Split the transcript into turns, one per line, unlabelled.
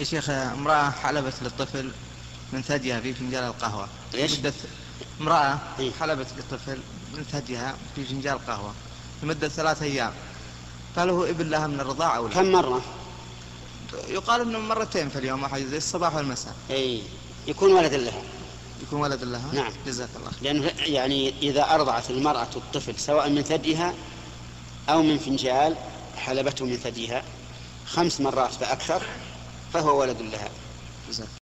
يا شيخ امرأة حلبت للطفل من ثديها في فنجان القهوة
إيش؟
لمدة امرأة
إيه.
حلبت للطفل من ثديها في فنجان القهوة لمدة ثلاثة أيام فهل هو ابن لها من الرضاعة أو لا؟
كم مرة؟
يقال أنه مرتين في اليوم واحد زي الصباح والمساء
أي إيه، يكون ولدا لها
يكون ولد لها
نعم.
جزاك الله خير
لأنه يعني إذا أرضعت المرأة الطفل سواء من ثديها أو من فنجال حلبته من ثديها خمس مرات فأكثر فهو ولد لها
جزاك